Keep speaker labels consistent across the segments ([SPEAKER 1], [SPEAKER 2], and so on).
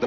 [SPEAKER 1] The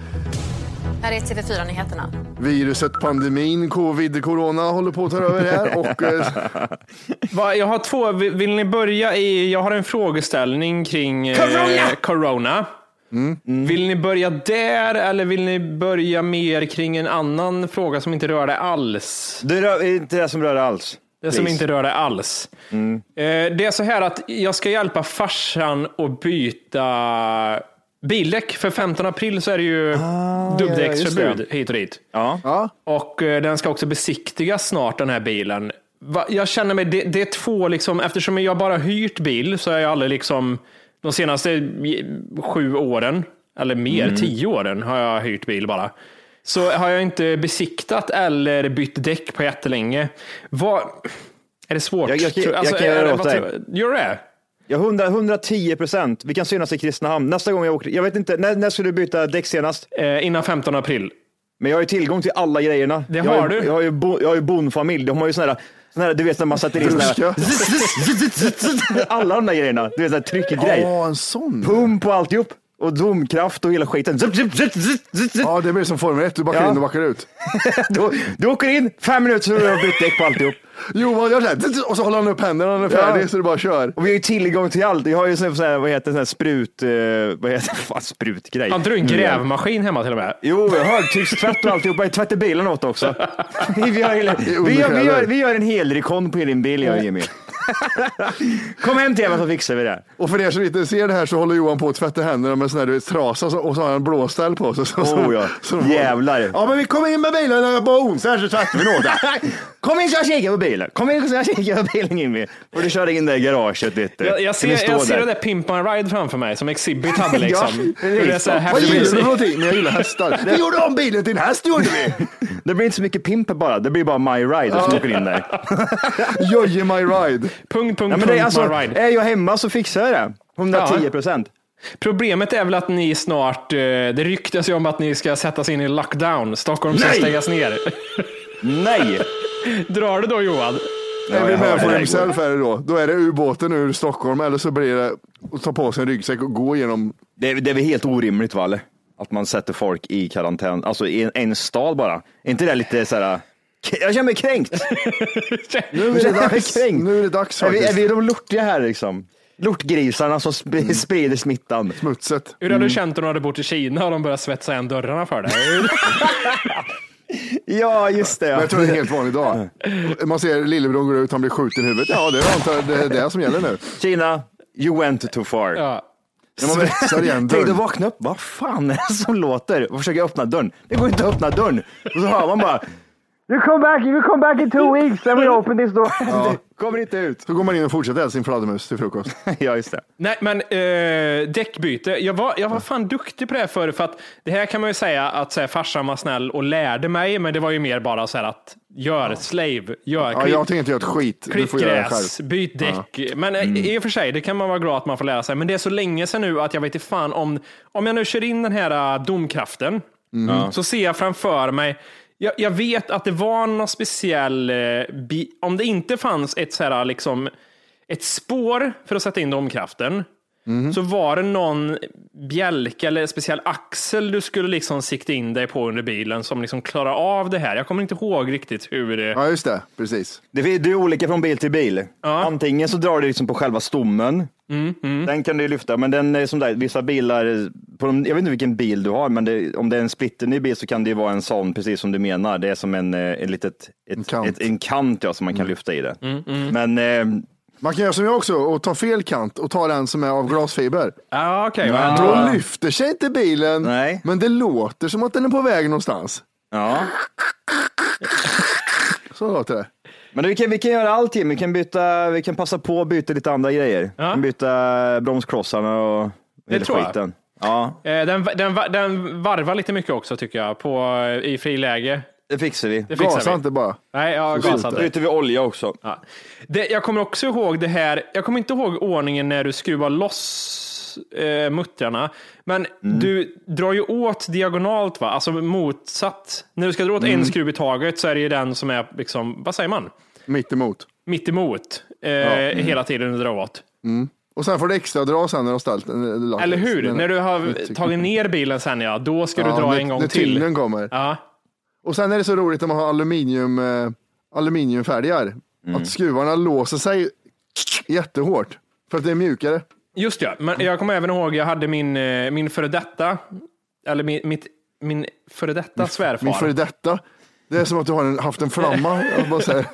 [SPEAKER 2] Här är TV4-nyheterna.
[SPEAKER 3] Viruset, pandemin, covid, corona håller på att ta över här. Och, eh,
[SPEAKER 4] Va, jag har två. Vill vill ni börja i... Jag har en frågeställning kring eh,
[SPEAKER 5] Corona!
[SPEAKER 4] corona. Vill ni börja där eller vill ni börja mer kring en annan fråga som inte rör det alls?
[SPEAKER 6] Det rör, är inte det som rör det alls.
[SPEAKER 4] Det som
[SPEAKER 6] Please. Mm.
[SPEAKER 4] inte rör det alls. Eh, det är så här att jag ska hjälpa farsan att byta bildäck. För 15 april så är det ju
[SPEAKER 6] Ah,
[SPEAKER 4] dubbdäcksförbud hit och dit.
[SPEAKER 6] Ja.
[SPEAKER 4] Och eh, den ska också besiktigas snart den här bilen. Va, jag känner mig, det, det är två liksom, eftersom jag bara hyrt bil så har jag aldrig liksom, de senaste j- sju åren, eller mer,
[SPEAKER 6] Mm.
[SPEAKER 4] tio åren har jag hyrt bil bara. Så har jag inte besiktat eller bytt däck på jättelänge. Vad, är det svårt?
[SPEAKER 6] Jag- jag-
[SPEAKER 4] tror- alltså,
[SPEAKER 6] jag kan göra
[SPEAKER 4] är-
[SPEAKER 6] det åt
[SPEAKER 4] vad
[SPEAKER 6] dig.
[SPEAKER 4] tror- Gör det?
[SPEAKER 6] Ja, 100, 110 procent. Vi kan synas i Kristinehamn. Nästa gång jag åker, jag vet inte, när, när ska du byta däck senast?
[SPEAKER 4] Eh, innan 15 april.
[SPEAKER 6] Men jag har ju tillgång till alla grejerna.
[SPEAKER 4] Det
[SPEAKER 6] jag
[SPEAKER 4] har
[SPEAKER 6] ju,
[SPEAKER 4] du.
[SPEAKER 6] Jag har ju, bo, jag har ju bondfamilj. De har ju såna här, såna här, du vet när man sätter in såna
[SPEAKER 3] Bruska.
[SPEAKER 6] här, alla de där grejerna. Du vet, sån här tryckgrej.
[SPEAKER 3] ja, en sån.
[SPEAKER 6] Pump och alltihop. Och domkraft och hela skiten. Zup, zup, zup, zup, zup, zup.
[SPEAKER 3] Ja, det blir som Formel 1, du backar
[SPEAKER 6] Ja.
[SPEAKER 3] in och backar ut.
[SPEAKER 6] Du, du åker in, fem minuter så har du bytt däck på alltihop.
[SPEAKER 3] Johan gör såhär, och så håller han upp händerna när han är färdig
[SPEAKER 6] Ja.
[SPEAKER 3] så du bara kör.
[SPEAKER 6] Och vi har ju tillgång till allt. Jag har ju sån här, sån här, vad heter det, sån här sprut... Eh, vad heter det? Fan, sprutgrej.
[SPEAKER 4] Har inte du en
[SPEAKER 6] Mm.
[SPEAKER 4] grävmaskin hemma till och med?
[SPEAKER 6] Jo, jag har högtryckstvätt och alltihopa. Jag tvättar bilen åt också. Vi gör, hela, vi, gör, vi, gör, vi gör en helrekon på din bil, jag och Jimmy. Kom hem till mig så fixar vi det.
[SPEAKER 3] Och för er som inte ser det här så håller Johan på att tvätta händerna med sån här du vet, trasa så- och så har han en blåställ på sig. Så,
[SPEAKER 6] Oh, ja. Jävlar.
[SPEAKER 3] Ja men vi kommer in med bilen på onsdag så tvättar vi nog det.
[SPEAKER 6] Kom in så jag kikar på bilen. Kom in så jag kikar på bilen Jimmy. Och du kör in där i garaget. Vet du.
[SPEAKER 4] Jag, jag
[SPEAKER 6] Kan vi
[SPEAKER 4] ser,
[SPEAKER 6] stå
[SPEAKER 4] jag ser det där Pimp My Ride framför mig som Exhibit hade liksom.
[SPEAKER 6] Ja,
[SPEAKER 4] Hur det är så här
[SPEAKER 6] Vad
[SPEAKER 3] Vad
[SPEAKER 4] happy
[SPEAKER 3] gillar du för
[SPEAKER 4] music.
[SPEAKER 3] någonting? Men jag gillar hästar. Vi gjorde om bilen till en häst gjorde vi.
[SPEAKER 6] Det blir inte så mycket pimper bara. Det blir bara My Ride som åker in där.
[SPEAKER 3] Joje my ride.
[SPEAKER 4] Punkt, punkt,
[SPEAKER 6] Ja, men
[SPEAKER 4] punkt,
[SPEAKER 6] det är, alltså,
[SPEAKER 4] my ride.
[SPEAKER 6] är jag hemma så fixar jag det. 110
[SPEAKER 4] Ja.
[SPEAKER 6] procent.
[SPEAKER 4] Problemet är väl att ni snart, eh, det ryktas ju om att ni ska sättas in i lockdown. Stockholm ska
[SPEAKER 6] Nej!
[SPEAKER 4] stängas ner.
[SPEAKER 6] Nej!
[SPEAKER 4] Drar du då Johan?
[SPEAKER 3] Är vi
[SPEAKER 6] jag hörde
[SPEAKER 3] med for
[SPEAKER 6] det
[SPEAKER 3] himself är det då. Då är det ubåten ur Stockholm eller så blir det att ta på sig en ryggsäck och gå genom.
[SPEAKER 6] Det är, det är väl helt orimligt, Valle? Att man sätter folk i karantän, alltså i en, en stad bara. Är inte det lite så här, k- jag känner mig kränkt.
[SPEAKER 3] Nu är det
[SPEAKER 6] Jag känner mig
[SPEAKER 3] dags.
[SPEAKER 6] kränkt.
[SPEAKER 3] Nu är det dags
[SPEAKER 6] är vi,
[SPEAKER 3] faktiskt. Mm.
[SPEAKER 6] är vi de lortiga här liksom? Lortgrisarna som sp- sprider smittan.
[SPEAKER 3] Smutset.
[SPEAKER 4] Hur hade du känt om du hade bott i Kina och de började svetsa igen dörrarna för dig?
[SPEAKER 6] Ja, just det.
[SPEAKER 3] Men jag tror det är en helt vanlig dag. Man ser lillebror går ut, han blir skjuten i huvudet. Ja, det är, antar jag, det, är det som gäller nu.
[SPEAKER 6] Kina, you went too far.
[SPEAKER 4] Ja.
[SPEAKER 3] Svetsar igen
[SPEAKER 6] Tänk dig
[SPEAKER 3] dörren.
[SPEAKER 6] vakna upp, vad fan är det som låter? Och försöka öppna dörren. Det går inte att öppna dörren. Och så hör man bara, you come back, you come back in two weeks and we open this door. Kommer inte ut.
[SPEAKER 3] Så går man in och fortsätter äta sin fladdermus till frukost.
[SPEAKER 6] Ja, just det.
[SPEAKER 4] Nej, men eh, däckbyte. Jag var, jag var fan duktig på det här förr, för att det här kan man ju säga att så här, farsan var snäll och lärde mig, men det var ju mer bara så här att gör slave, gör,
[SPEAKER 3] Ja, jag tänker inte göra ett skit. Du
[SPEAKER 4] Klipp
[SPEAKER 3] får göra det själv. Mm.
[SPEAKER 4] gräs, byt däck. Men eh, i och för sig, det kan man vara glad att man får lära sig. Men det är så länge sedan nu att jag vet inte fan om, om jag nu kör in den här eh, domkraften,
[SPEAKER 3] Mm.
[SPEAKER 4] så ser jag framför mig jag, jag vet att det var någon speciell, eh, bi, om det inte fanns ett, så här, liksom, ett spår för att sätta in domkraften,
[SPEAKER 3] Mm.
[SPEAKER 4] så var det någon bjälke eller speciell axel du skulle liksom sikta in dig på under bilen som liksom klarar av det här. Jag kommer inte ihåg riktigt hur det...
[SPEAKER 3] Ja, just det. Precis.
[SPEAKER 6] Det är det är olika från bil till bil. Antingen så drar det liksom på själva stommen.
[SPEAKER 4] Mm,
[SPEAKER 6] Den kan du ju lyfta, men den är som där, vissa bilar, på de, jag vet inte vilken bil du har, men det, om det är en splitterny bil så kan det ju vara en sån, precis som du menar. Det är som en, eh, en litet, ett, en
[SPEAKER 3] kant.
[SPEAKER 6] Ett, en kant ja, som man kan lyfta i det.
[SPEAKER 4] Mm,
[SPEAKER 6] Men eh,
[SPEAKER 3] Man kan göra som jag också och ta fel kant och ta den som är av glasfiber.
[SPEAKER 4] Ah, okej, men-
[SPEAKER 3] Då lyfter sig inte bilen,
[SPEAKER 6] Nej.
[SPEAKER 3] men det låter som att den är på väg någonstans.
[SPEAKER 6] ja.
[SPEAKER 3] Så låter det.
[SPEAKER 6] Men vi kan, vi kan göra allt Jim. Vi kan, byta, vi kan passa på att byta lite andra grejer. Vi kan byta bromsklossarna och hela
[SPEAKER 4] tror jag.
[SPEAKER 6] skiten. Ja,
[SPEAKER 4] Eh, Den, den, den varvar lite mycket också tycker jag, på, eh, i friläge.
[SPEAKER 6] det fixar vi.
[SPEAKER 4] Det fixar
[SPEAKER 3] Gasa
[SPEAKER 4] vi.
[SPEAKER 3] inte bara.
[SPEAKER 4] Nej,
[SPEAKER 3] Så
[SPEAKER 4] ja, gasa
[SPEAKER 3] slutar.
[SPEAKER 4] inte.
[SPEAKER 6] byter vi olja också.
[SPEAKER 4] Ja. Det, jag kommer också ihåg det här, jag kommer inte ihåg ordningen när du skruvar loss eh, muttrarna, men
[SPEAKER 3] Mm.
[SPEAKER 4] du drar ju åt diagonalt, va? alltså motsatt. När du ska dra åt
[SPEAKER 3] Mm.
[SPEAKER 4] en skruv i taget så är det ju den som är, liksom, vad säger man,
[SPEAKER 3] Mitt emot.
[SPEAKER 4] mitt emot eh,
[SPEAKER 3] Mm.
[SPEAKER 4] hela tiden du drar åt.
[SPEAKER 3] Och sen får du extra dra sen när du har ställt den.
[SPEAKER 4] Eller hur?
[SPEAKER 3] Den-
[SPEAKER 4] när du
[SPEAKER 3] jag
[SPEAKER 4] har
[SPEAKER 3] tycker-
[SPEAKER 4] tagit ner bilen sen, ja, då ska du
[SPEAKER 3] Ja,
[SPEAKER 4] dra
[SPEAKER 3] när-
[SPEAKER 4] en gång
[SPEAKER 3] när
[SPEAKER 4] till.
[SPEAKER 3] tyngden kommer.
[SPEAKER 4] Ja.
[SPEAKER 3] Och sen är det så roligt när man har aluminium, eh, aluminiumfälgar.
[SPEAKER 4] Mm.
[SPEAKER 3] Att skruvarna låser sig jättehårt. För att det är mjukare.
[SPEAKER 4] Just ja, men jag kommer även ihåg jag hade min, eh, min före detta, eller min, mitt, min före detta svärfar.
[SPEAKER 3] Min före detta. Det är som att du har en, haft en flamma. Jag, bara säger.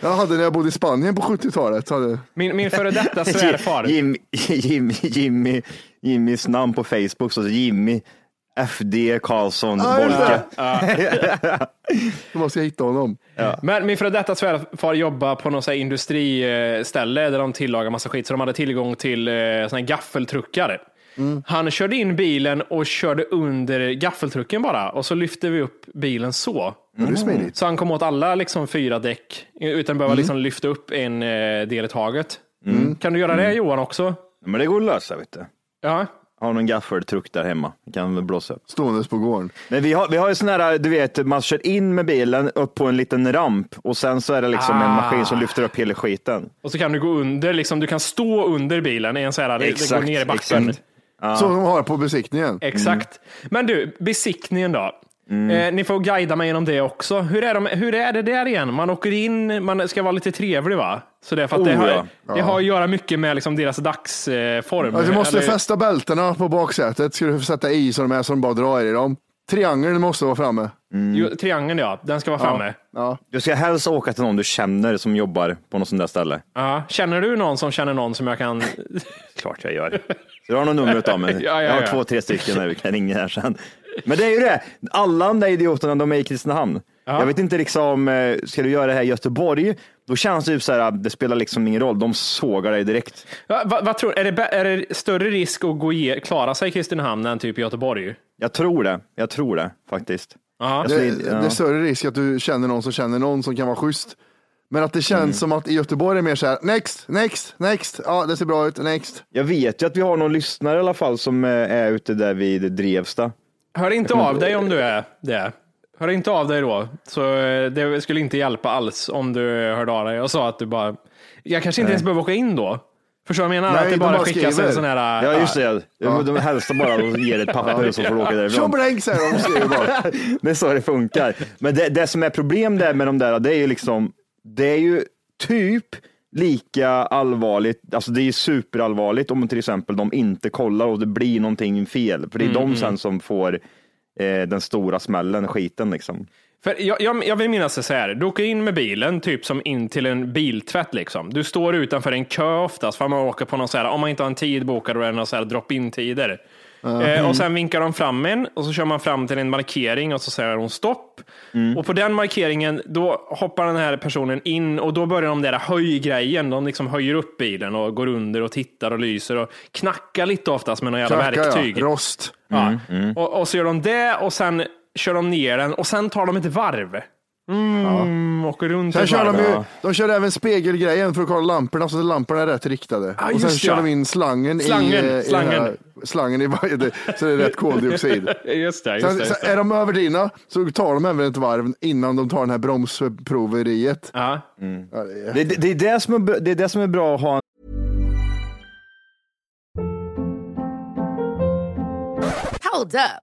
[SPEAKER 3] jag hade när jag bodde i Spanien på 70-talet. så Hade...
[SPEAKER 4] min, min före detta svärfar.
[SPEAKER 6] Jim, Jim, Jimmy, Jimmys namn på Facebook, så Jimmy FD Karlsson
[SPEAKER 3] Ja, just
[SPEAKER 6] Bolke.
[SPEAKER 3] det. Då måste jag hitta honom.
[SPEAKER 4] Men min före detta svärfar jobbade på något så här industriställe där de tillagar massa skit, så de hade tillgång till eh, såna här gaffeltruckar.
[SPEAKER 3] Mm.
[SPEAKER 4] Han körde in bilen och körde under gaffeltrucken bara och så lyfte vi upp bilen så.
[SPEAKER 3] Det är smidigt.
[SPEAKER 4] Så han kom åt alla liksom fyra däck utan att
[SPEAKER 3] Mm.
[SPEAKER 4] behöva liksom lyfta upp en eh, del i taget. Kan du göra
[SPEAKER 3] Mm.
[SPEAKER 4] det Johan också?
[SPEAKER 6] Men det går att lösa vet du.
[SPEAKER 4] Ja.
[SPEAKER 6] Har någon gaffeltruck där hemma. Kan väl blåsa upp.
[SPEAKER 3] Ståendes på gården.
[SPEAKER 6] Men vi har, vi har ju sån här, du vet, man kör in med bilen upp på en liten ramp och sen så är det liksom en maskin som lyfter upp hela skiten.
[SPEAKER 4] Och så kan du gå under, liksom, du kan stå under bilen i en så här, det- det går
[SPEAKER 6] Exakt,
[SPEAKER 4] ner i backen.
[SPEAKER 6] exakt. Mm.
[SPEAKER 4] Exakt.
[SPEAKER 3] Så de har på besiktningen.
[SPEAKER 4] Men du, besiktningen då?
[SPEAKER 6] Mm.
[SPEAKER 4] Eh, ni får guida mig genom det också. Hur är, de, hur är det där igen? Man åker in, man ska vara lite trevlig va? Så det, är för att
[SPEAKER 6] Oh,
[SPEAKER 4] det, har,
[SPEAKER 6] ja.
[SPEAKER 4] det har att göra mycket med liksom deras dagsform.
[SPEAKER 3] Ja, du måste
[SPEAKER 4] Eller-
[SPEAKER 3] fästa bältena på baksätet. Ska du sätta i så de är som bara drar i dem. Triangeln måste vara framme.
[SPEAKER 4] Jo, triangeln ja, den ska vara framme.
[SPEAKER 3] Ja.
[SPEAKER 6] Du ska helst åka till någon du känner som jobbar på något sånt där ställe.
[SPEAKER 4] Ja. Känner du någon som känner någon som jag kan...
[SPEAKER 6] Klart jag gör. Så du har något numret av mig?
[SPEAKER 4] Ja, ja,
[SPEAKER 6] jag har
[SPEAKER 4] ja.
[SPEAKER 6] två, tre stycken där vi kan ringa här sen. Men det är ju det, alla de där idioterna de är i Kristinehamn. Jag vet inte, liksom, eh, ska du göra det här i Göteborg, då känns det ju så här, det spelar liksom ingen roll, de sågar dig direkt.
[SPEAKER 4] Ja, vad, vad tror, är, det, bä- är det större risk att gå ge, klara sig i Kristinehamn än typ i Göteborg?
[SPEAKER 6] Jag tror det, jag tror det faktiskt.
[SPEAKER 4] Ja.
[SPEAKER 6] Jag
[SPEAKER 3] Det,
[SPEAKER 6] skulle- ja.
[SPEAKER 3] det är större risk att du känner någon som känner någon som kan vara schysst. Men att det känns
[SPEAKER 4] Mm.
[SPEAKER 3] som att i Göteborg är mer så här, next, next, next, ja det ser bra ut, next.
[SPEAKER 6] Jag vet ju att vi har någon lyssnare i alla fall som eh, är ute där vid Drevsta.
[SPEAKER 4] Hör inte av dig om du är det. Hör inte av dig då. Så eh, det skulle inte hjälpa alls om du hörde av dig och sa att du bara... Jag kanske inte ens behöver åka in då. Förstår du vad jag menar?
[SPEAKER 3] Nej,
[SPEAKER 4] att det
[SPEAKER 3] de
[SPEAKER 4] bara
[SPEAKER 3] bara
[SPEAKER 4] skickas en
[SPEAKER 3] skriver.
[SPEAKER 4] sån här...
[SPEAKER 6] Ja, just det. De, de hälsar bara och ger ett papper och så får du åka
[SPEAKER 3] Tjo
[SPEAKER 6] därifrån.
[SPEAKER 3] blänk säger de och skriver bara.
[SPEAKER 6] Det är så det funkar. Men det, det som är problem där med de där, det är ju liksom, det är ju typ lika allvarligt, alltså det är ju superallvarligt om till exempel de inte kollar och det blir någonting fel. För det är de sen som får eh, den stora smällen, skiten liksom.
[SPEAKER 4] För jag, jag, jag vill minnas det så här. Du åker in med bilen, typ som in till en biltvätt. Liksom. Du står utanför en kö oftast, för man åker på någon så här, om man inte har en tid bokad, då är det någon så här drop-in tider. Eh,
[SPEAKER 3] Mm.
[SPEAKER 4] och sen vinkar de fram en och så kör man fram till en markering och så säger hon stopp.
[SPEAKER 3] Mm.
[SPEAKER 4] Och på den markeringen, då hoppar den här personen in och då börjar de där höjgrejen. De liksom höjer upp bilen och går under och tittar och lyser och knackar lite oftast med några jävla
[SPEAKER 3] Knackar, ja.
[SPEAKER 4] verktyg.
[SPEAKER 3] Rost.
[SPEAKER 4] Ja. Och, och så gör de det och sen kör de ner den och sen tar de ett varv. Mm, Åker runt
[SPEAKER 3] Sen
[SPEAKER 4] ett
[SPEAKER 3] kör
[SPEAKER 4] varv.
[SPEAKER 3] de ju, de kör även spegelgrejen för att kolla lamporna så att lamporna är rätt riktade.
[SPEAKER 4] Ja,
[SPEAKER 3] och sen
[SPEAKER 4] just
[SPEAKER 3] kör
[SPEAKER 4] ja.
[SPEAKER 3] de in slangen,
[SPEAKER 4] Slangen,
[SPEAKER 3] i, eh,
[SPEAKER 4] slangen.
[SPEAKER 3] I den här, slangen i varje, så det är rätt koldioxid.
[SPEAKER 4] Just det, just
[SPEAKER 3] Sen,
[SPEAKER 4] det. Just
[SPEAKER 3] sen
[SPEAKER 4] det.
[SPEAKER 3] är de överdrivna så tar de även ett varv innan de tar den här bromsproveriet.
[SPEAKER 4] Ja.
[SPEAKER 3] Ja, det är-
[SPEAKER 6] Det, det, det, är det, som är, bra- det är det som är bra att ha en
[SPEAKER 7] Hold up.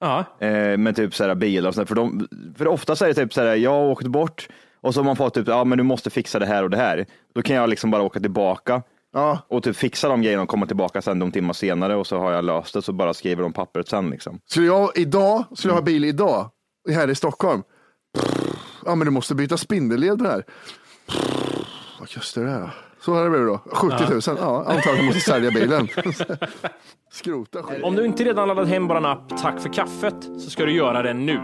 [SPEAKER 4] Ja.
[SPEAKER 6] Eh, med typ så här bilar och sådär. För, de, för oftast är det typ så här, jag har åkt bort och så har man fått typ, ja men du måste fixa det här och det här. Då kan jag liksom bara åka tillbaka
[SPEAKER 3] Ja,
[SPEAKER 6] och typ fixa de grejerna och komma tillbaka sen de timmar senare och så har jag löst det så bara skriver de pappret sen liksom.
[SPEAKER 3] skulle jag idag, skulle jag ha bil idag här i Stockholm. Ja, men du måste byta spindelled på det här. Vad kostar det här då? Så här blir det då. 70 000. Ja, antagligen måste sälja bilen. Skrota skit.
[SPEAKER 4] Om du inte redan laddat hem bara en app Tack för kaffet så ska du göra det nu.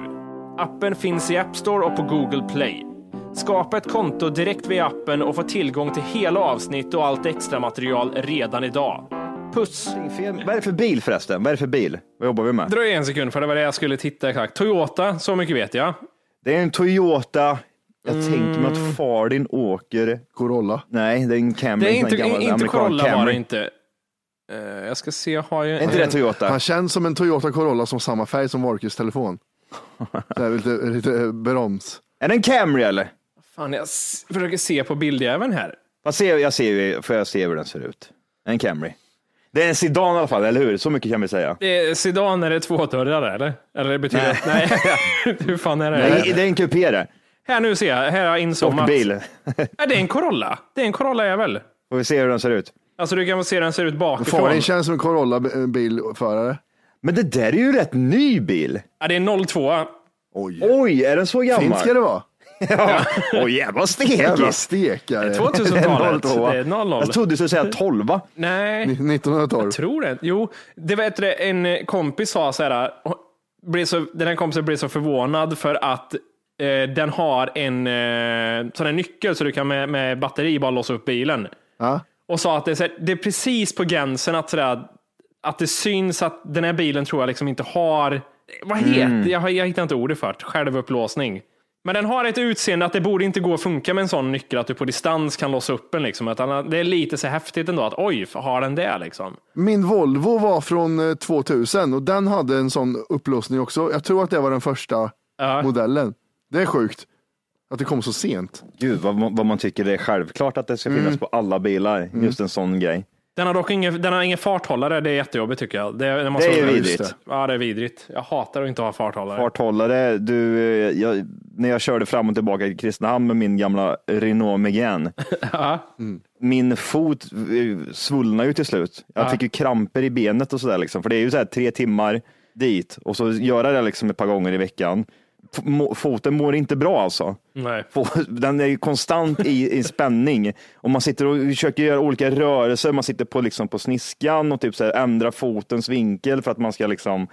[SPEAKER 4] Appen finns i App Store och på Google Play. Skapa ett konto direkt via appen och få tillgång till hela avsnitt och allt extra material redan idag. Puss!
[SPEAKER 6] Vad är det för bil förresten? Vad är det för bil? Vad jobbar vi med?
[SPEAKER 4] Dröj en sekund för det var det jag skulle titta exakt. Toyota, så mycket vet jag.
[SPEAKER 6] Det är en Toyota. Jag
[SPEAKER 4] Mm.
[SPEAKER 6] tänker mig att far din åker.
[SPEAKER 3] Corolla.
[SPEAKER 6] Nej, det är en Camry.
[SPEAKER 4] Det är
[SPEAKER 6] en
[SPEAKER 4] inte,
[SPEAKER 6] sån här gammal
[SPEAKER 4] inte
[SPEAKER 6] amerikan
[SPEAKER 4] Corolla var
[SPEAKER 6] Camry.
[SPEAKER 4] det inte. Eh, Jag ska se, jag har ju...
[SPEAKER 6] Är inte det Toyota?
[SPEAKER 3] Han känns som en Toyota Corolla som samma färg som Warkes telefon. Så här, lite, lite eh, broms.
[SPEAKER 6] Är det en Camry eller?
[SPEAKER 4] Fan, jag s- försöker se på bildjäveln här.
[SPEAKER 6] Jag ser, jag ser, ju- får jag se hur den ser ut? En Camry. Det är en sedan i alla fall, eller hur? Så mycket kan vi säga.
[SPEAKER 4] Det är sedan är det två dörrar eller? Eller det betyder att, nej. Hur fan är det?
[SPEAKER 6] Nej, det är en kupé det.
[SPEAKER 4] Här nu ser jag, här har jag
[SPEAKER 6] Och
[SPEAKER 4] insommat.
[SPEAKER 6] bil.
[SPEAKER 4] Ja, det är en Corolla. Det är en Corolla-jävel.
[SPEAKER 6] Får vi se hur den ser ut.
[SPEAKER 4] Alltså du kan väl se hur den ser ut bakifrån.
[SPEAKER 3] Farin känns som en Corolla eh, bilförare.
[SPEAKER 6] Men det där är ju rätt ny bil.
[SPEAKER 4] Ja, det är 02.
[SPEAKER 6] Oj, är den så gammal?
[SPEAKER 3] Fint ska det vara.
[SPEAKER 6] Ja. Oj, jävla
[SPEAKER 3] Jävla
[SPEAKER 6] stekis.
[SPEAKER 3] stekare.
[SPEAKER 4] 2000-talet.
[SPEAKER 6] En 02.
[SPEAKER 4] Det är 00.
[SPEAKER 6] Jag trodde du skulle säga 12.
[SPEAKER 4] Nej,
[SPEAKER 3] 1912.
[SPEAKER 4] jag tror det. Jo, det vet du, en kompis sa så här. hon- Blev så, den här kompisen blev så förvånad för att eh, den har en eh, sån här nyckel så du kan med, med batteri bara låsa upp bilen.
[SPEAKER 3] Ja.
[SPEAKER 4] och sa att det är, så här, det är precis på gränsen att, sådär, att det syns att den här bilen tror jag liksom inte har, vad heter jag, har- jag hittar inte ordet för det, självupplåsning. Men den har ett utseende att det borde inte gå att funka med en sån nyckel att du på distans kan låsa upp den. Liksom. Utan det är lite så häftigt ändå att oj, har den det liksom?
[SPEAKER 3] Min Volvo var från eh, 2000 och den hade en sån upplösning också. Jag tror att det var den första
[SPEAKER 4] Ja.
[SPEAKER 3] modellen. Det är sjukt att det kom så sent.
[SPEAKER 6] Gud, vad, vad man tycker det är självklart att det ska finnas på alla bilar. Just en sån grej.
[SPEAKER 4] Den har dock ingen, den har ingen farthållare, det är jättejobbigt tycker jag. Det, det,
[SPEAKER 6] Det är
[SPEAKER 4] vara-
[SPEAKER 6] vidrigt.
[SPEAKER 4] Just det. Ja, det är vidrigt. Jag hatar att inte ha farthållare.
[SPEAKER 6] Farthållare, du, eh, jag, när jag körde fram och tillbaka i Kristinehamn med min gamla Renault Megane, Mm. min fot eh, svullnade ju till slut. Jag
[SPEAKER 4] Ja.
[SPEAKER 6] fick ju kramper i benet och sådär, liksom. för det är ju så här tre timmar dit och så göra det liksom ett par gånger i veckan. F- må- Foten mår inte bra alltså.
[SPEAKER 4] Nej.
[SPEAKER 6] Få- Den är ju konstant i, i spänning. Och man sitter och försöker göra olika rörelser. Man sitter på, liksom, på sniskan och typ så här, ändra fotens vinkel för att man ska liksom...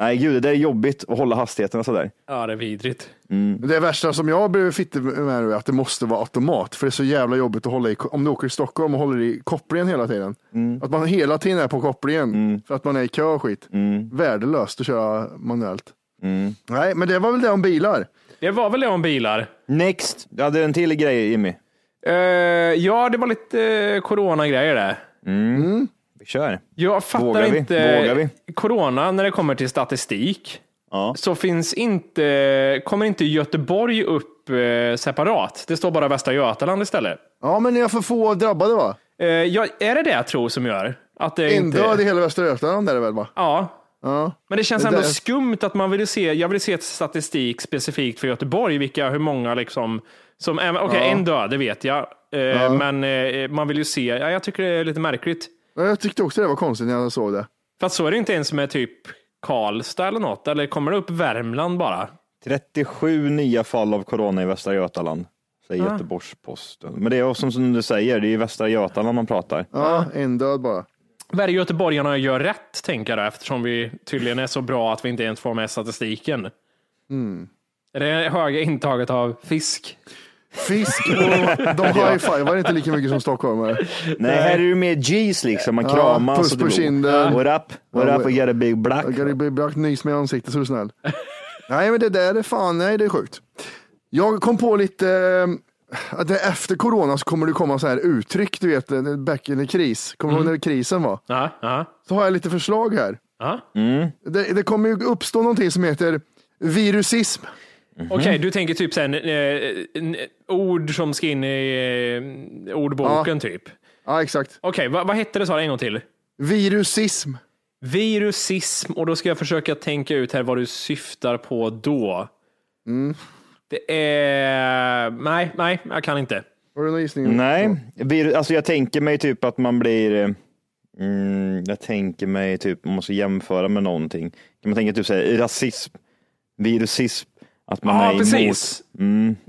[SPEAKER 6] Nej, gud, det där är jobbigt att hålla hastigheterna så där.
[SPEAKER 4] Ja, det är vidrigt.
[SPEAKER 3] Det värsta som jag blev fitte med nu är att det måste vara automat. För det är så jävla jobbigt att hålla i, om du åker i Stockholm och håller i kopplingen hela tiden. Att man hela tiden är på kopplingen för att man är i kö och skit. Värdelöst att köra manuellt. Nej, men det var väl det om bilar.
[SPEAKER 4] Det var väl det om bilar?
[SPEAKER 6] Next! Du hade en till grej, Jimmy.
[SPEAKER 4] Eh, ja, det var lite uh, coronagrejer där.
[SPEAKER 6] Vi kör.
[SPEAKER 4] Jag fattar
[SPEAKER 6] Vågar vi?
[SPEAKER 4] inte.
[SPEAKER 6] Vågar vi?
[SPEAKER 4] Corona, när det kommer till statistik,
[SPEAKER 6] Ja.
[SPEAKER 4] så finns inte, kommer inte Göteborg upp eh, separat. Det står bara Västra Götaland istället.
[SPEAKER 3] Ja, men ni har för få drabbade va?
[SPEAKER 4] Eh, ja, är det det jag tror som gör? Att det
[SPEAKER 3] En
[SPEAKER 4] inte...
[SPEAKER 3] död i hela Västra Götaland är det väl va?
[SPEAKER 4] Ja.
[SPEAKER 3] Ja.
[SPEAKER 4] Men det känns
[SPEAKER 3] Det
[SPEAKER 4] ändå
[SPEAKER 3] där-
[SPEAKER 4] skumt att man vill se, jag vill se ett statistik specifikt för Göteborg, vilka, hur många liksom, som, eh, okej en död, det vet jag, eh, men eh, man vill ju se, ja, jag tycker det är lite märkligt.
[SPEAKER 3] Ja, Jag tyckte också det var konstigt när jag såg det.
[SPEAKER 4] För att så är det inte ens med typ Karlstad eller något, eller kommer det upp Värmland bara?
[SPEAKER 6] 37 nya fall av corona i Västra Götaland, säger
[SPEAKER 4] Ja.
[SPEAKER 6] Göteborgs-Posten. Men det är också som du säger, det är ju Västra Götaland man pratar.
[SPEAKER 3] Ja, en död bara.
[SPEAKER 4] Vad är det göteborgarna gör rätt, tänker jag då, eftersom vi tydligen är så bra att vi inte ens får med statistiken. Är det höga intaget av fisk?
[SPEAKER 3] Fisk och de high-fivar inte lika mycket som stockholmare.
[SPEAKER 6] Nej, här är det mer G's liksom. Man
[SPEAKER 3] Ja,
[SPEAKER 6] kramas.
[SPEAKER 3] puss
[SPEAKER 6] och
[SPEAKER 3] på
[SPEAKER 6] det blir-
[SPEAKER 3] kinden.
[SPEAKER 6] What up?
[SPEAKER 3] Ja,
[SPEAKER 6] What up? I got a big black.
[SPEAKER 3] Jag kan bli brakt nys med i ansiktet så är du snäll. Nej men det där är fan, nej det är sjukt. Jag kom på lite, eh, att det- efter corona så kommer det komma så här uttryck, du vet, eh, back in the kris. Kommer du ihåg när krisen var?
[SPEAKER 4] Ja, ja,
[SPEAKER 3] Så har jag lite förslag här.
[SPEAKER 4] ja.
[SPEAKER 3] Det, det kommer ju uppstå någonting som heter virusism.
[SPEAKER 4] Okej, du tänker typ sen, eh, n- ord som ska in i eh, ordboken typ. Okej,
[SPEAKER 3] Ja exakt,
[SPEAKER 4] vad, vad hette det sa du en gång till?
[SPEAKER 3] virusism.
[SPEAKER 4] Virusism, och då ska jag försöka tänka ut här vad du syftar på då. Det är... Nej, nej, jag kan inte.
[SPEAKER 3] Har du någon gissning?
[SPEAKER 6] Nej, vi- alltså jag tänker mig typ att man blir... eh, Mm, jag tänker mig typ, man måste jämföra med någonting. Kan man tänka typ så här, rasism, virusism, att man är
[SPEAKER 4] Ja,
[SPEAKER 6] emot.
[SPEAKER 4] precis.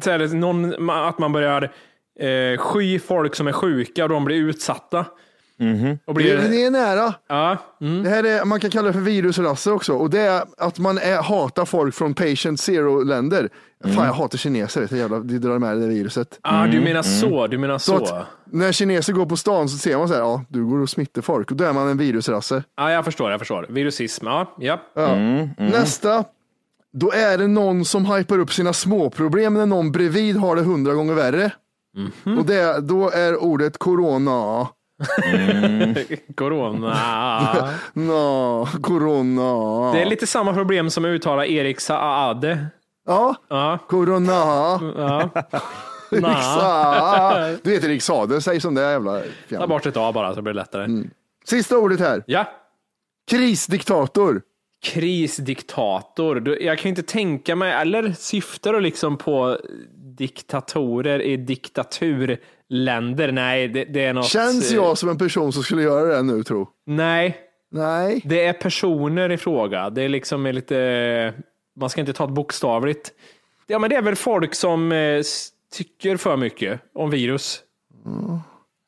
[SPEAKER 4] Så här, någon, ma- att man börjar eh, sky folk som är sjuka och de blir utsatta.
[SPEAKER 3] Det,
[SPEAKER 4] Och blir,
[SPEAKER 3] det är nära. Mm.
[SPEAKER 4] ja,
[SPEAKER 3] Det här är, man kan kalla det för virusrasse också. Och det är att man är, hatar folk från patient zero-länder.
[SPEAKER 4] Mm.
[SPEAKER 3] Fan, jag hatar kineser. Det, är jävla, det drar med det där viruset.
[SPEAKER 4] ah, du menar så, du menar
[SPEAKER 3] Så
[SPEAKER 4] så.
[SPEAKER 3] att när kineser går på stan så ser man så här, ja, du går och smittar folk. Och då är man en virusrasse.
[SPEAKER 4] Ja, jag förstår, jag förstår. Virusism, ja. ja.
[SPEAKER 3] Ja.
[SPEAKER 4] Mm.
[SPEAKER 3] Nästa. Då är det någon som hypar upp sina småproblem när någon bredvid har det hundra gånger värre.
[SPEAKER 4] Mhm.
[SPEAKER 3] Och det, då är ordet corona.
[SPEAKER 4] Corona.
[SPEAKER 3] Nå, corona.
[SPEAKER 4] Det är lite samma problem som att uttala Erik Saade.
[SPEAKER 3] Ja,
[SPEAKER 4] Ja,
[SPEAKER 3] corona.
[SPEAKER 4] ja.
[SPEAKER 3] Riks
[SPEAKER 4] Na.
[SPEAKER 3] Saade. Du heter Riks Saade, säg som det är jävla
[SPEAKER 4] Ta
[SPEAKER 3] fjärn.
[SPEAKER 4] bort ett A bara så blir det lättare.
[SPEAKER 3] Mm. Sista ordet här,
[SPEAKER 4] Ja.
[SPEAKER 3] krisdiktator.
[SPEAKER 4] Krisdiktator. Du, Jag kan ju inte tänka mig, eller syftar du liksom på diktatorer i diktaturländer? Nej, det, det är något. eh,
[SPEAKER 3] Känns jag som en person som skulle göra det nu tro?
[SPEAKER 4] Nej,
[SPEAKER 3] Nej.
[SPEAKER 4] det är personer i fråga. Det är liksom är lite, man ska inte ta det bokstavligt. Ja, men det är väl folk som eh, s- tycker för mycket om virus.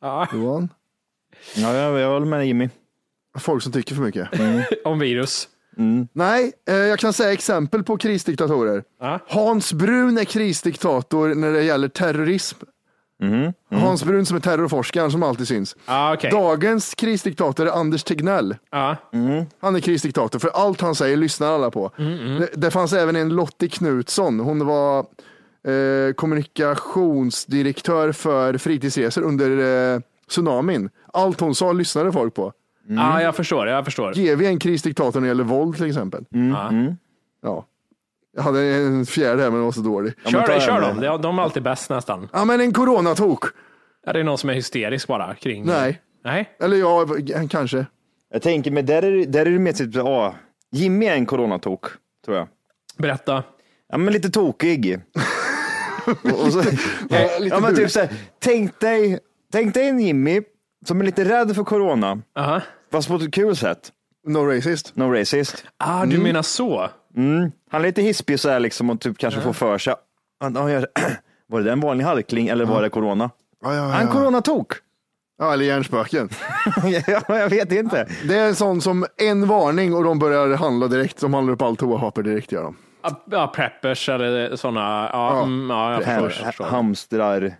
[SPEAKER 4] Ja,
[SPEAKER 3] Johan,
[SPEAKER 6] Ja, jag, jag håller med Jimmy.
[SPEAKER 3] folk som tycker för mycket.
[SPEAKER 4] om virus.
[SPEAKER 3] Nej, eh, jag kan säga exempel på krisdiktatorer.
[SPEAKER 4] Ja.
[SPEAKER 3] Hans Brun är krisdiktator när det gäller terrorism. Hans Brun som är terrorforskaren som alltid syns.
[SPEAKER 4] Ja, Mm, Ah, okej. Ah.
[SPEAKER 3] Dagens krisdiktator är Anders Tegnell.
[SPEAKER 4] Ja.
[SPEAKER 3] Han är krisdiktator, för allt han säger lyssnar alla på. Det, det fanns även en Lottie Knutsson. Hon var eh, kommunikationsdirektör för fritidsresor under eh, tsunamin. Allt hon sa lyssnade folk på.
[SPEAKER 4] ja, jag förstår. Jag förstår.
[SPEAKER 3] GW är en krisdiktator när det gäller våld till exempel.
[SPEAKER 6] Mm.
[SPEAKER 4] Ja.
[SPEAKER 3] Ja. Jag hade en fjärde här, men den var så dålig.
[SPEAKER 4] Kör,
[SPEAKER 6] ta
[SPEAKER 4] det,
[SPEAKER 6] en.
[SPEAKER 4] kör dem. De- De är alltid bäst nästan.
[SPEAKER 3] Ja, men en coronatok.
[SPEAKER 4] Ja, det är någon som är hysterisk bara kring.
[SPEAKER 3] Nej,
[SPEAKER 4] Nej.
[SPEAKER 3] Eller ja, kanske.
[SPEAKER 6] Jag tänker, men där är, det- där är det mer typ, ja, Jimmy är en coronatok, tror jag.
[SPEAKER 4] Berätta.
[SPEAKER 6] Ja, men lite tokig. och, och så, ja,
[SPEAKER 3] lite
[SPEAKER 6] men
[SPEAKER 3] bur.
[SPEAKER 6] typ så här, tänk dig, tänk dig en Jimmy som är lite rädd för corona,
[SPEAKER 4] Aha.
[SPEAKER 6] fast på ett kul sätt.
[SPEAKER 3] No racist.
[SPEAKER 6] No racist.
[SPEAKER 4] Ah, du menar så?
[SPEAKER 6] Mm. Han är lite hispig så här liksom och typ kanske får för sig. Han, han gör, var det en vanlig halkling eller var det corona?
[SPEAKER 3] Ja, ja,
[SPEAKER 6] Han
[SPEAKER 3] ja.
[SPEAKER 6] coronatok.
[SPEAKER 3] ja eller hjärnspöken.
[SPEAKER 6] ja, jag vet inte.
[SPEAKER 3] Det är en sån som en varning och de börjar handla direkt. De handlar upp all toapapper direkt gör de.
[SPEAKER 4] Ah, Ja, preppers eller sådana. Ja,
[SPEAKER 3] Ja.
[SPEAKER 4] mm, ja jag
[SPEAKER 6] Ham,
[SPEAKER 4] förstår. jag förstår.
[SPEAKER 6] hamstrar,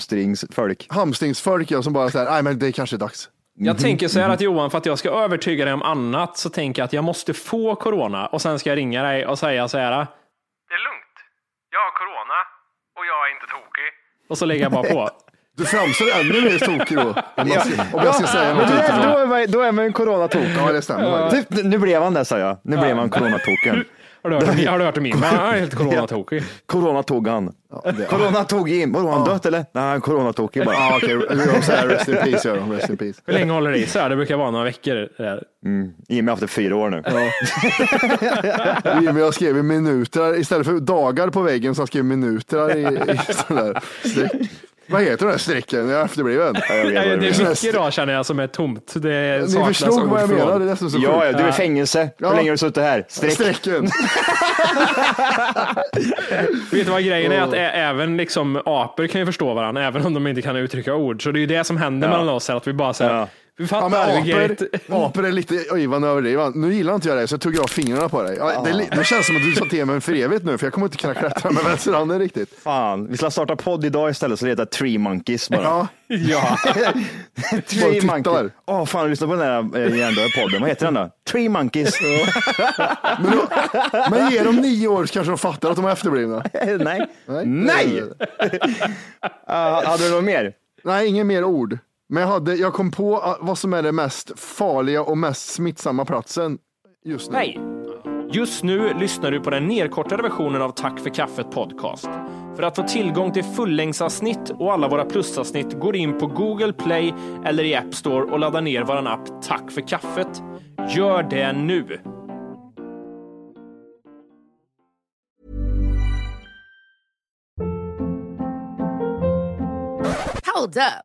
[SPEAKER 6] hamstringsfolk.
[SPEAKER 3] Hamstringsfolk ja, som bara säger, nej men det är kanske är dags.
[SPEAKER 4] Jag tänker så här att Johan, för att jag ska övertyga dig om annat så tänker jag att jag måste få corona och sen ska jag ringa dig och säga så här. Det är lugnt. Jag har corona och jag är inte tokig. Och så lägger jag bara på.
[SPEAKER 3] Du framstår ännu mer tokig då. Om jag ska, om jag ska säga
[SPEAKER 6] Ja, men
[SPEAKER 3] något
[SPEAKER 6] det
[SPEAKER 3] utifrån.
[SPEAKER 6] där, då, är man, då är man en coronatok.
[SPEAKER 3] Ja, det stämmer faktiskt.
[SPEAKER 6] Typ, nu blev han det sa jag. Nu blev han coronatoken.
[SPEAKER 4] Har du hört, om- har du hört om min? Han är helt coronatokig.
[SPEAKER 6] Coronatog han. Coronatog in. Vadå, har han dött eller? Nej, han är coronatokig bara.
[SPEAKER 3] Ja, okej. Eller de säger rest in peace gör de. Rest in peace.
[SPEAKER 4] Hur länge håller det i sig? Det brukar vara några veckor. det där.
[SPEAKER 6] Jimmy har haft det fyra år nu.
[SPEAKER 3] Jimmy, jag skrev i minuter istället för dagar på väggen så han skrev minuter i, i sådär streck. Vad heter den här strecken? Jag är efterbliven.
[SPEAKER 6] Ja, jag vet vad du
[SPEAKER 4] Nej, Det
[SPEAKER 6] menar.
[SPEAKER 4] är mycket idag känner jag som är tomt. Det
[SPEAKER 3] Ni
[SPEAKER 4] saknas
[SPEAKER 3] förstod
[SPEAKER 4] ord
[SPEAKER 3] vad jag
[SPEAKER 4] från.
[SPEAKER 3] menar. Det är nästan så
[SPEAKER 6] Ja, ja,
[SPEAKER 3] sjukt.
[SPEAKER 6] du är i fängelse. Hur
[SPEAKER 3] Ja.
[SPEAKER 6] länge har du suttit här? Streck.
[SPEAKER 3] Strecken.
[SPEAKER 4] Vet du vad grejen är? Att ä- även liksom apor kan ju förstå varandra, även om de inte kan uttrycka ord. Så det är ju det som händer mellan oss, här, att vi bara säger,
[SPEAKER 6] Ja.
[SPEAKER 4] vi
[SPEAKER 3] Ja,
[SPEAKER 4] fattar.
[SPEAKER 3] men
[SPEAKER 4] vi ger
[SPEAKER 3] apor,
[SPEAKER 4] ett-
[SPEAKER 3] apor är lite Ivan överdriven. Nu gillar inte jag dig så jag tog jag fingrarna på dig. Ja, det, är li- det känns som att du sa till mig för evigt nu för jag kommer inte kunna klättra med vänsterhanden riktigt.
[SPEAKER 6] Fan, vi ska starta podd idag istället så det heter Tree Monkeys bara.
[SPEAKER 3] Ja,
[SPEAKER 4] ja.
[SPEAKER 3] Bara
[SPEAKER 6] Tree
[SPEAKER 3] tittar.
[SPEAKER 6] Monkeys. Åh, fan, lyssna på den här eh, jävla podden. Vad heter den då? Tree Monkeys.
[SPEAKER 3] men, då, men ge dem nio år så kanske de fattar att de är efterblivna.
[SPEAKER 6] Nej.
[SPEAKER 3] Nej.
[SPEAKER 6] Nej! Ah, hade du något mer?
[SPEAKER 3] Nej, inget mer ord. Men jag, hade, jag kom på ah, vad som är den mest farliga och mest smittsamma platsen just nu.
[SPEAKER 4] Nej. Just nu lyssnar du på den nedkortade versionen av Tack för kaffet podcast. För att få tillgång till fullängdsavsnitt och alla våra plusavsnitt går in på Google Play eller i App Store och laddar ner vår app Tack för kaffet. Gör det nu!
[SPEAKER 7] Hold up.